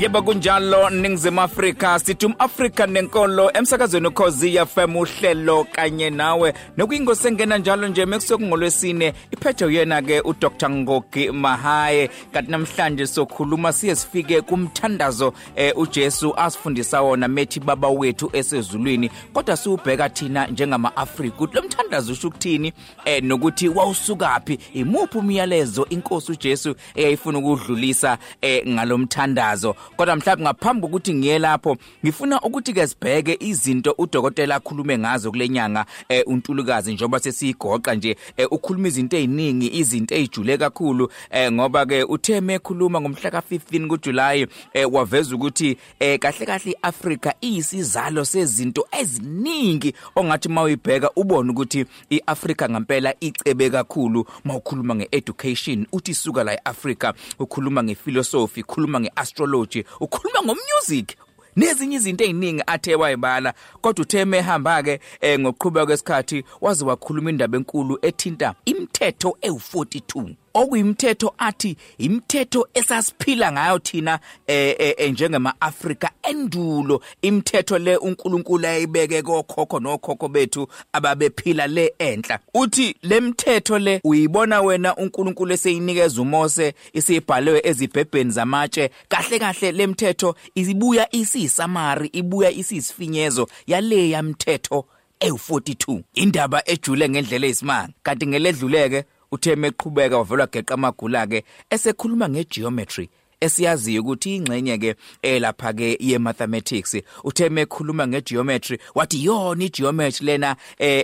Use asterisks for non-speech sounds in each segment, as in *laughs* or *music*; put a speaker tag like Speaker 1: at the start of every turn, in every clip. Speaker 1: yebo kunjalo ningizimu afrika sithi umafrika nenkolo emsakazweni ukhozi yafem uhlelo kanye nawe nokuyingosi engena njalo nje mekusokungolwesine iphethe uyena-ke udr ngogi mahaye kanti namhlanje sokhuluma siye sifike kumthandazo um eh, ujesu asifundisa wona methi baba wethu esezulwini kodwa siwubheka thina njengama-afrika ukuthi lo mthandazo usho ukuthini um eh, nokuthi wawusukaphi imuphi umyalezo inkosi ujesu eyayifuna ukudlulisa eh, ngalo mthandazo kodwa mhlawumbe ngaphambi kokuthi ngiye lapho ngifuna ukuthi-ke sibheke izinto udokotela akhulume ngazo kule nyanga eh, untulukazi njengoba sesiyigoqa nje eh, ukhuluma izinto ey'ningi izinto ey'jule kakhulu eh, ngoba-ke uthe mekhuluma ngomhla ka-15 kujulayi eh, waveza ukuthi eh, kahle kahle i-afrika iyisizalo sezinto eziningi ongathi uma uyibheka ubone ukuthi i-afrika ngampela icebe kakhulu ma ukhuluma nge-education uthi suka la e-afrika ukhuluma ngefilosofi ukhuluma nge-astrology ukhuluma ngomusic nezinye izinto ey'ningi athe wayibala kodwa uthe mehamba-ke um ngokuqhubeka kwesikhathi waze wakhuluma indaba enkulu ethinta imithetho ewu-42 okuyimthetho athi imithetho esasiphila ngayo thina eh, eh, eh, njengema-afrika endulo imithetho le unkulunkulu ayibeke kokhokho nokhokho bethu ababephila le enhla uthi le mithetho le uyibona wena unkulunkulu eseyinikeza umose isiyibhaliwe ezibhebheni zamatshe kahle kahle le mithetho ibuya isiyisamari ibuya isiyisifinyezo yaleya mithetho ewu-42 indaba ejule ngendlela eyisimanga kanti ngeledluleke uthe meqhubeka wavelwa geqa amagula-ke esekhuluma ngegeometry esiyaziyo ukuthi ingxenye-ke elapha-ke ye-mathematics uthe mekhuluma ngegeometry wathi yona igeometry lena e,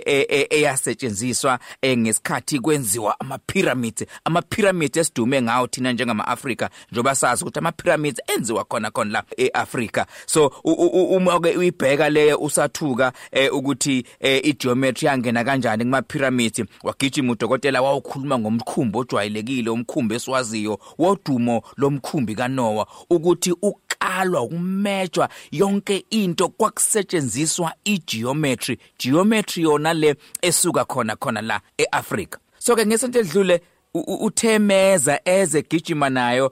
Speaker 1: eyasetshenziswa e, e, e, ngesikhathi kwenziwa ama-pyramids ama-pyramids esidume ngawo thina njengama-afrika njengoba sazi ukuthi ama-pyramids enziwa khona khona la e-afrika so uma-ke uyibheka leyo usathuka um ukuthi um igeometry yangena kanjani kuma-pyramids wagijima udokotela wawukhuluma ngomkhumbi ojwayelekile umkhumbi esiwaziyo wodumo lomkhumbi umkhumbi kanowa ukuthi ukalwa ukumejwa yonke into kwakusetshenziswa igeometry geometry yona le esuka khona khona la eAfrika so-ke ngesonto edlule uthemeza eze gijima nayo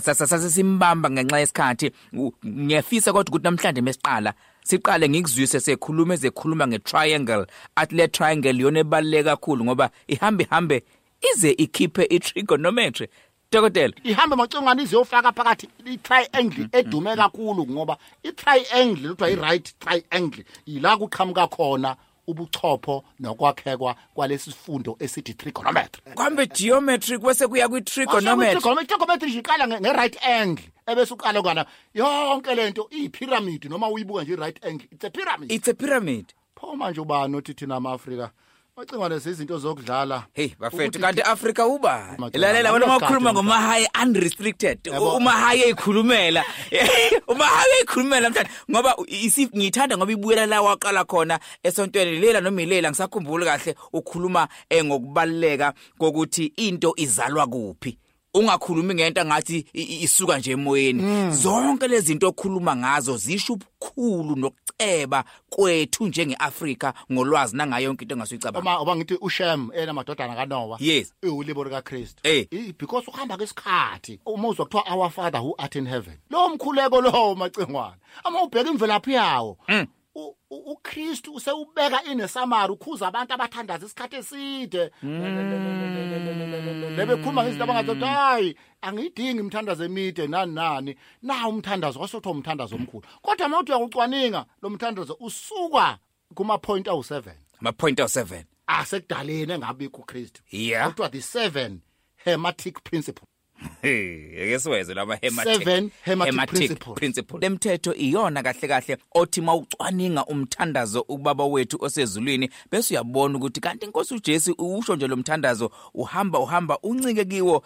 Speaker 1: sasesimbamba ngenxa yesikhathi ngiyafisa kodwa ukuthi namhlanje mesiqala siqale ngikuzwise sekhuluma ezekhuluma nge-triangle athi le triangle yona ebaluleke kakhulu ngoba ihambe ihambe ize ikhiphe i-trigonometry dokotela
Speaker 2: ihambe macingwane iziyofaka phakathi i-triangle edume kakhulu ngoba i-triangle kuthiwa i-right triangle yila kuqhamuka khona ubuchopho nokwakhekwa kwalesi sifundo esithi trigonometry
Speaker 1: kwambe geometry kwese kuya kwi-trigonometry
Speaker 2: trigonometry nje iqala nge- nge-right angle ebese uqala kona yonke le nto iyiphiramidi noma uyibuka nje i-right angle it's a pyramid
Speaker 1: it's a pyramid
Speaker 2: pho manje ubani othi thina ma-afrika macingwane zizinto zokudlala
Speaker 1: heyi bafethu
Speaker 2: Ukuthi-
Speaker 1: kanti afrika uba
Speaker 2: Macala,
Speaker 1: lalela wena uma
Speaker 2: awunogadi
Speaker 1: ukhuluma
Speaker 2: nje.
Speaker 1: ngomahayi unrestricted
Speaker 2: Yabo.
Speaker 1: umahayi eyikhulumela *laughs* umahayi eyikhulumela mhlawumbe ngoba isi- ngiyithanda ngoba ibuyela la waqala khona esontweni lela noma ilela ngisakhumbuli kahle ukhuluma eh, ngokubaluleka kokuthi into izalwa kuphi ungakhulumi ngento angathi i- i- isuka nje
Speaker 2: Hmm.
Speaker 1: emoyeni zonke lezi zinto okhuluma ngazo zisho ubukhulu nokuceba kwethu njenge-afrika ngolwazi nangayo yonke into engasuyicabanga
Speaker 2: uma uba ngithi ushem eyena madodana kanowa
Speaker 1: yes
Speaker 2: iwulibo likakristu
Speaker 1: Eh.
Speaker 2: I- because ukuhamba kwesikhathi uma uzwa kuthiwa our father who art in heaven lowo mkhuleko lowo macingwane ama ubheka imvelaphi yawo
Speaker 1: Mm.
Speaker 2: U- u- ukristu usewubeka inesamari ukhuza abantu abathandaza isikhathi eside
Speaker 1: Mm.
Speaker 2: lebekhuluma ngezinto abangathi ukuthi hayi angiyidingi imthandazo emide nani nani nawo umthandazo kwasokuthiwa umthandazo omkhulu kodwa uma uthi uyakucwaninga lo mthandazo usuka kumaphoyinti awu-seven
Speaker 1: ama-point awu-seven
Speaker 2: asekudaleni engabikho uKristu.
Speaker 1: Yeah.
Speaker 2: Kuthiwa the seven hermetic principle.
Speaker 1: eke siweze laba
Speaker 2: Seven hermetic principles.
Speaker 1: principle le mthetho iyona kahle kahle othi ma ucwaninga umthandazo ubaba wethu osezulwini bese uyabona ukuthi kanti inkosi ujesu usho nje lo mthandazo uhamba uhamba uncike kiwo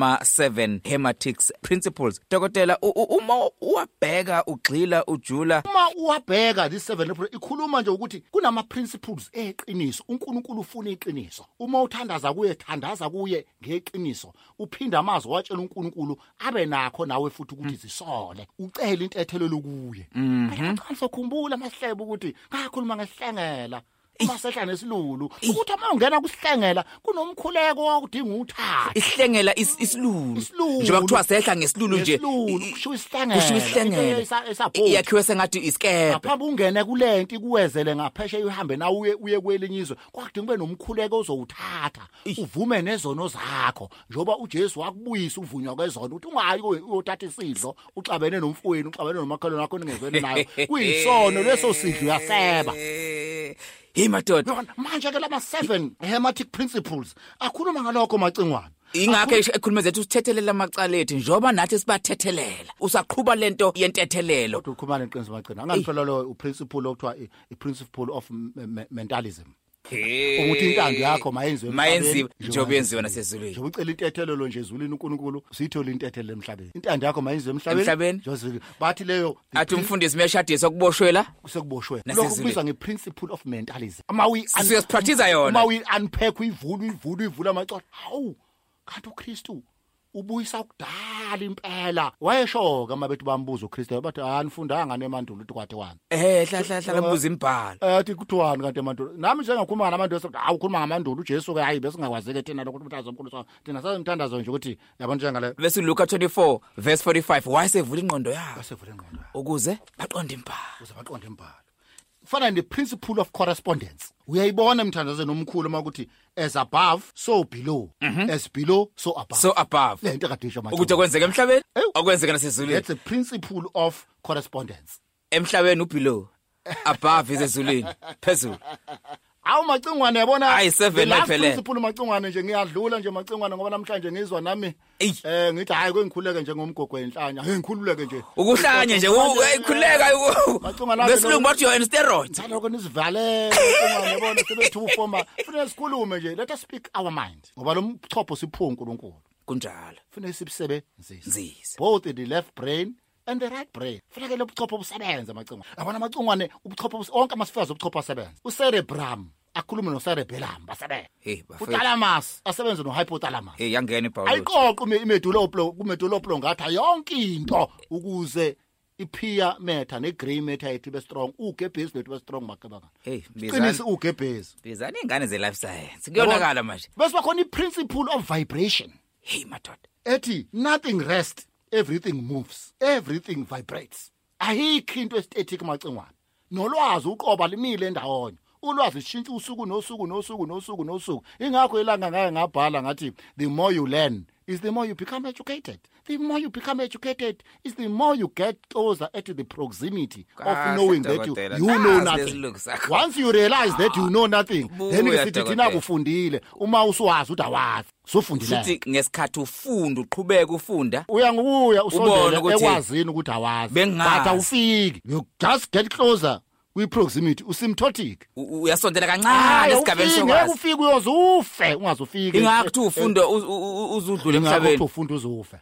Speaker 1: lama-seven hermetics principles dokotela u- u- uma uwabheka ugxila ujula
Speaker 2: Uma uwabheka the seven principle ikhuluma nje ukuthi kunama principles eqiniso. uNkulunkulu ufuna iqiniso. Uma uthandaza kuye thandaza kuye ngeqiniso. Uphinda amazwi watshela uNkulunkulu abe nakho nawe futhi ukuthi zisole. Ucele intethelelo kuye. Kanti ukukhumbula amahlebo ukuthi ngakhuluma ngehlengela. umasehla nesilulu ukuthi uma ungena kusihlengela kunomkhuleko wokudinga uthatha
Speaker 1: ihlengela is- isilulu
Speaker 2: Isilulu.
Speaker 1: njengoba kuthiwa sehla ngesilulu nje
Speaker 2: Ngesilulu,
Speaker 1: i- i-
Speaker 2: kushiwo isihlengela.
Speaker 1: kushiwo
Speaker 2: Into esa-
Speaker 1: isihlengela
Speaker 2: esabhodi.
Speaker 1: yakhiwe sengathi isikebhe
Speaker 2: ngaphambi ungene kulento ikuwezele ngaphesheya uhambe na uye uye kwelinye izwe kwakudinga ube nomkhuleko ozowuthatha uvume nezono zakho njengoba ujesu wakubuyisa uvunywa kwezona ukuthi ungayi uyo- uyothatha isidlo uxabene nomfweni uxabene nomakhelwane wakho
Speaker 1: *laughs*
Speaker 2: ningezweni nayo kuyisono leso sidlo uyaseba
Speaker 1: yi madoda
Speaker 2: yona manje ke lama seven hermetic principles akhuluma ngalokho macingwane
Speaker 1: ingakho esho- ekhulume zethu sithethelela amacala ethu njengoba nathi sibathethelela usaqhuba le nto yentethelelo
Speaker 2: kodwa ukhuluma neqiniso macingwane angangihlolwa loyo uprinciple okuthiwa i- i-principle of m- m- mentalism ukuthi intando yakho mayenziwe
Speaker 1: Eh, mayenziwe
Speaker 2: emhlabeni
Speaker 1: njengoba yenziwe nasezulwini
Speaker 2: njengoba ucela intethelelo nje ezulwini unkulunkulu siyithole intethelelo emhlabeni intando yakho mayenziwe emhlabeni
Speaker 1: Emhlabeni.
Speaker 2: Joseph, bathi leyo
Speaker 1: athi umfundisi umeshadiswa kuboshwela
Speaker 2: sekuboshwe
Speaker 1: Nasezulwini.
Speaker 2: lokho kubizwa nge-principle of mentalism uma uyi-
Speaker 1: Siyasipractice-a yona.
Speaker 2: uma uyi-unpack uyivula uyivula uyivula amacala hawu kanti ukristu ubuyisa kudala impela wayesho-ke uma bethi bambuza ukristu bathi "Ah, anifundanga nemandulo ukuthi kwathiwani
Speaker 1: eh hla hla hla kambuza imbhalo
Speaker 2: athi kuthiwani kanti emandulo nami njengakhuluma ngamandulo sokuthi hawu ukhuluma ngamandulo ujesu ke hayi besingakwazike thina lokho ukuthi azomkhulusa thina sazimthandazo nje ukuthi yabona njengale
Speaker 1: bese luka 24 verse 45 wayesevula ingqondo yabo
Speaker 2: basevule ingqondo yayo
Speaker 1: ukuze baqonde imbhalo
Speaker 2: ukuze baqonde imbalo kufana ne-principle of correspondence uyayibona emthandazweni omkhulu uma ukuthi as above so below as below so above
Speaker 1: so above
Speaker 2: le nto kadisho
Speaker 1: ukuthi okwenzeka emhlabeni
Speaker 2: Ewu.
Speaker 1: okwenzeka nasezulwini
Speaker 2: that's a principle of correspondence
Speaker 1: emhlabeni ubelow above
Speaker 2: *laughs*
Speaker 1: isezulwini phezulu
Speaker 2: hawu macingwane yabona
Speaker 1: Ayi, seven
Speaker 2: the last
Speaker 1: ephelele.
Speaker 2: principle macingwane nje ngiyadlula nje macingwane ngoba namhlanje ngizwa nami
Speaker 1: Eyi.
Speaker 2: eh ngithi hayi kwengikhuleke nje ngomgogo wenhlanya hey ngikhululeke nje
Speaker 1: ukuhlanye nje u- eh, khuleka u-
Speaker 2: Macingwane abe
Speaker 1: ngesilungu bathi you're on steroids
Speaker 2: Ngithanda ukuthi nizivalele macingwane yabona sebethu ufoma kufanele sikhulume nje let us speak our mind ngoba lo mchopho siphiwe uNkulunkulu
Speaker 1: kunjalo
Speaker 2: kufanele sibusebenzise
Speaker 1: nzize
Speaker 2: both the left brain and the right brain kufanele lobuchopho busebenze amacingwane yabona amacingwane ubuchopho bus- wonke amasifazwe obuchopho asebenza ucerebrum akhulume nocerebellam basebenze
Speaker 1: hey bafethu
Speaker 2: uthalamus asebenze no-hypothalamus
Speaker 1: hey yangena ibhawulo
Speaker 2: ayiqoqe imeduloplo ngatha yonke into ukuze ipia metha ne-grey metha yethu ibe strong ugebhezi bethu bestrong makebangana
Speaker 1: hey
Speaker 2: qinise
Speaker 1: bizani
Speaker 2: ugebhezi
Speaker 1: bizani ingane ze life science kuyonakala manje
Speaker 2: besiba khona i-principle of vibration
Speaker 1: hey madoda
Speaker 2: ethi nothing rest everything moves everything vibrates ayikho into estatic macingwane nolwazi uqoba limile endawonye ulwazi lishintsha usuku nosuku nosuku nosuku nosuku ingakho ilanga ngake ngabhala ngathi the more you learn is the more you become educated the more you become educated is the more you get closer to the proximity
Speaker 1: Kahle,
Speaker 2: of knowing that you,
Speaker 1: dokotela.
Speaker 2: you know
Speaker 1: Nasi
Speaker 2: nothing
Speaker 1: lesilungu sakho.
Speaker 2: once you realize that you know nothing then
Speaker 1: Buya,
Speaker 2: ke sithi
Speaker 1: dokotela.
Speaker 2: thina kufundile uma usuwazi ukuthi awazi sofundileyo
Speaker 1: futhi ngesikhathi ufunda uqhubeka ufunda
Speaker 2: uya ngokuya
Speaker 1: Ubone
Speaker 2: usondele
Speaker 1: ukuthi
Speaker 2: ekwazini ukuthi awazi
Speaker 1: bengingazi.
Speaker 2: but awufiki you just get closer kwi-proximity usymptotic
Speaker 1: u- u- uyasondela kancane Ah, esigabeni sokwazi
Speaker 2: ufike uyoze ufe ungaze ufike
Speaker 1: ingakho kuthi
Speaker 2: *laughs*
Speaker 1: ufundo u- u- u- uze udlule
Speaker 2: Ingakho kuthi
Speaker 1: emhlabeni
Speaker 2: ufunde uze *laughs* ufe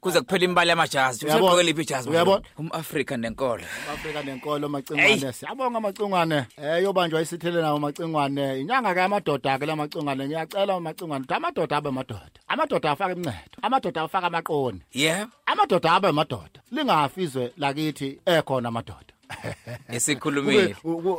Speaker 1: kuze kuphela imbali yamajazi
Speaker 2: Uyabona?
Speaker 1: usegqoke liphi ijazi
Speaker 2: Uyabona?
Speaker 1: umafrika nenkolo
Speaker 2: afrika nenkolo macingwane siyabonga macingwane um yobanjwa isithele nawo macingwane inyanga ke amadoda ke la macingwane ngiyacela macingwane ukuthi amadoda abe madoda amadoda afake imncedo amadoda afake amaqoni
Speaker 1: yebo
Speaker 2: amadoda abe madoda lingafi izwe lakithi ekhona amadoda *laughs*
Speaker 1: esikhulumile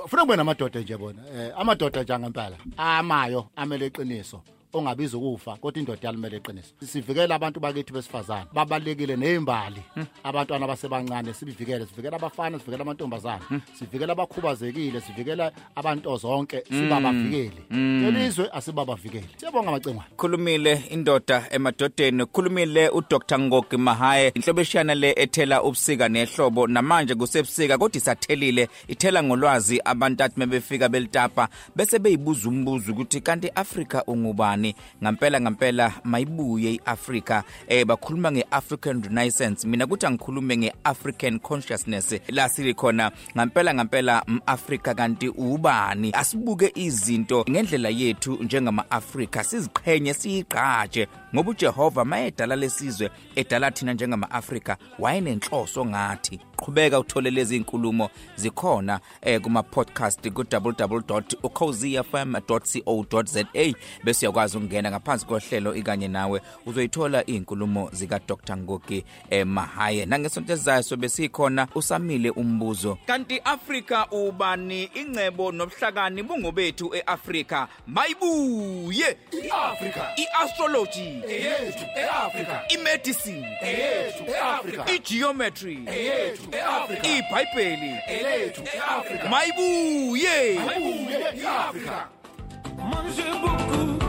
Speaker 2: funa kube namadoda nje bona um amadoda nje angempela amayo amele iqiniso ongabizi ukufa kodwa indoda yalimele iqiniso sivikele abantu bakithi besifazane babalulekile ney'mbali abantwana abasebancane sibivikele sivikele abafana sivikele amantombazane sivikele abakhubazekile sivikele abantu zonke sibabavikeli elizwe asibabavikeli siyabonga amacingwane
Speaker 1: khulumile indoda emadodeni khulumile udr ngogi mahaye inhlobo eshiyana le ethela ubusika nehlobo namanje kusebusika kodwa isathelile ithela ngolwazi abantu athi mebefika belitapa bese beyibuza umbuzo ukuthi kanti i-afrika ungubani ngampela ngampela mayibuye i-afrika um bakhuluma nge-african renaissance mina kuthi angikhulume nge-african consciousness la sili khona ngampela ngampela m-afrika kanti ubani asibuke izinto ngendlela yethu njengama-afrika siziqhenye siyigqaje ngoba ujehova ma edala lesizwe edala thina njengama-afrika wayenenhloso ngathi qhubeka uthole lezi nkulumo zikhona eh, kuma-podcast ku-www ucozfm co za bese uyakwazi ukwazi ukungena ngaphansi kohlelo ikanye nawe uzoyithola iy'nkulumo zikadr ngoki emahaye nangesonto ezayo sobe sikhona usamile umbuzo kanti afrika ubani ingcebo nobuhlakani bungobethu e-afrika mayibuye
Speaker 3: i-afrika
Speaker 1: i-astrology
Speaker 3: eyethu e-afrika
Speaker 1: imedicine
Speaker 3: eyethu e-afrika
Speaker 1: igeometry
Speaker 3: eyethu e-afrika
Speaker 1: ibhayibheli
Speaker 3: eyethu e-afrika
Speaker 1: mayibuye
Speaker 3: mayibuye i-afrika
Speaker 4: Mangez beaucoup.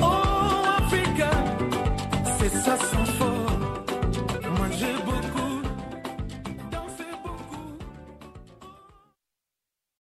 Speaker 4: Oh, Africa, c'est ça sans faute.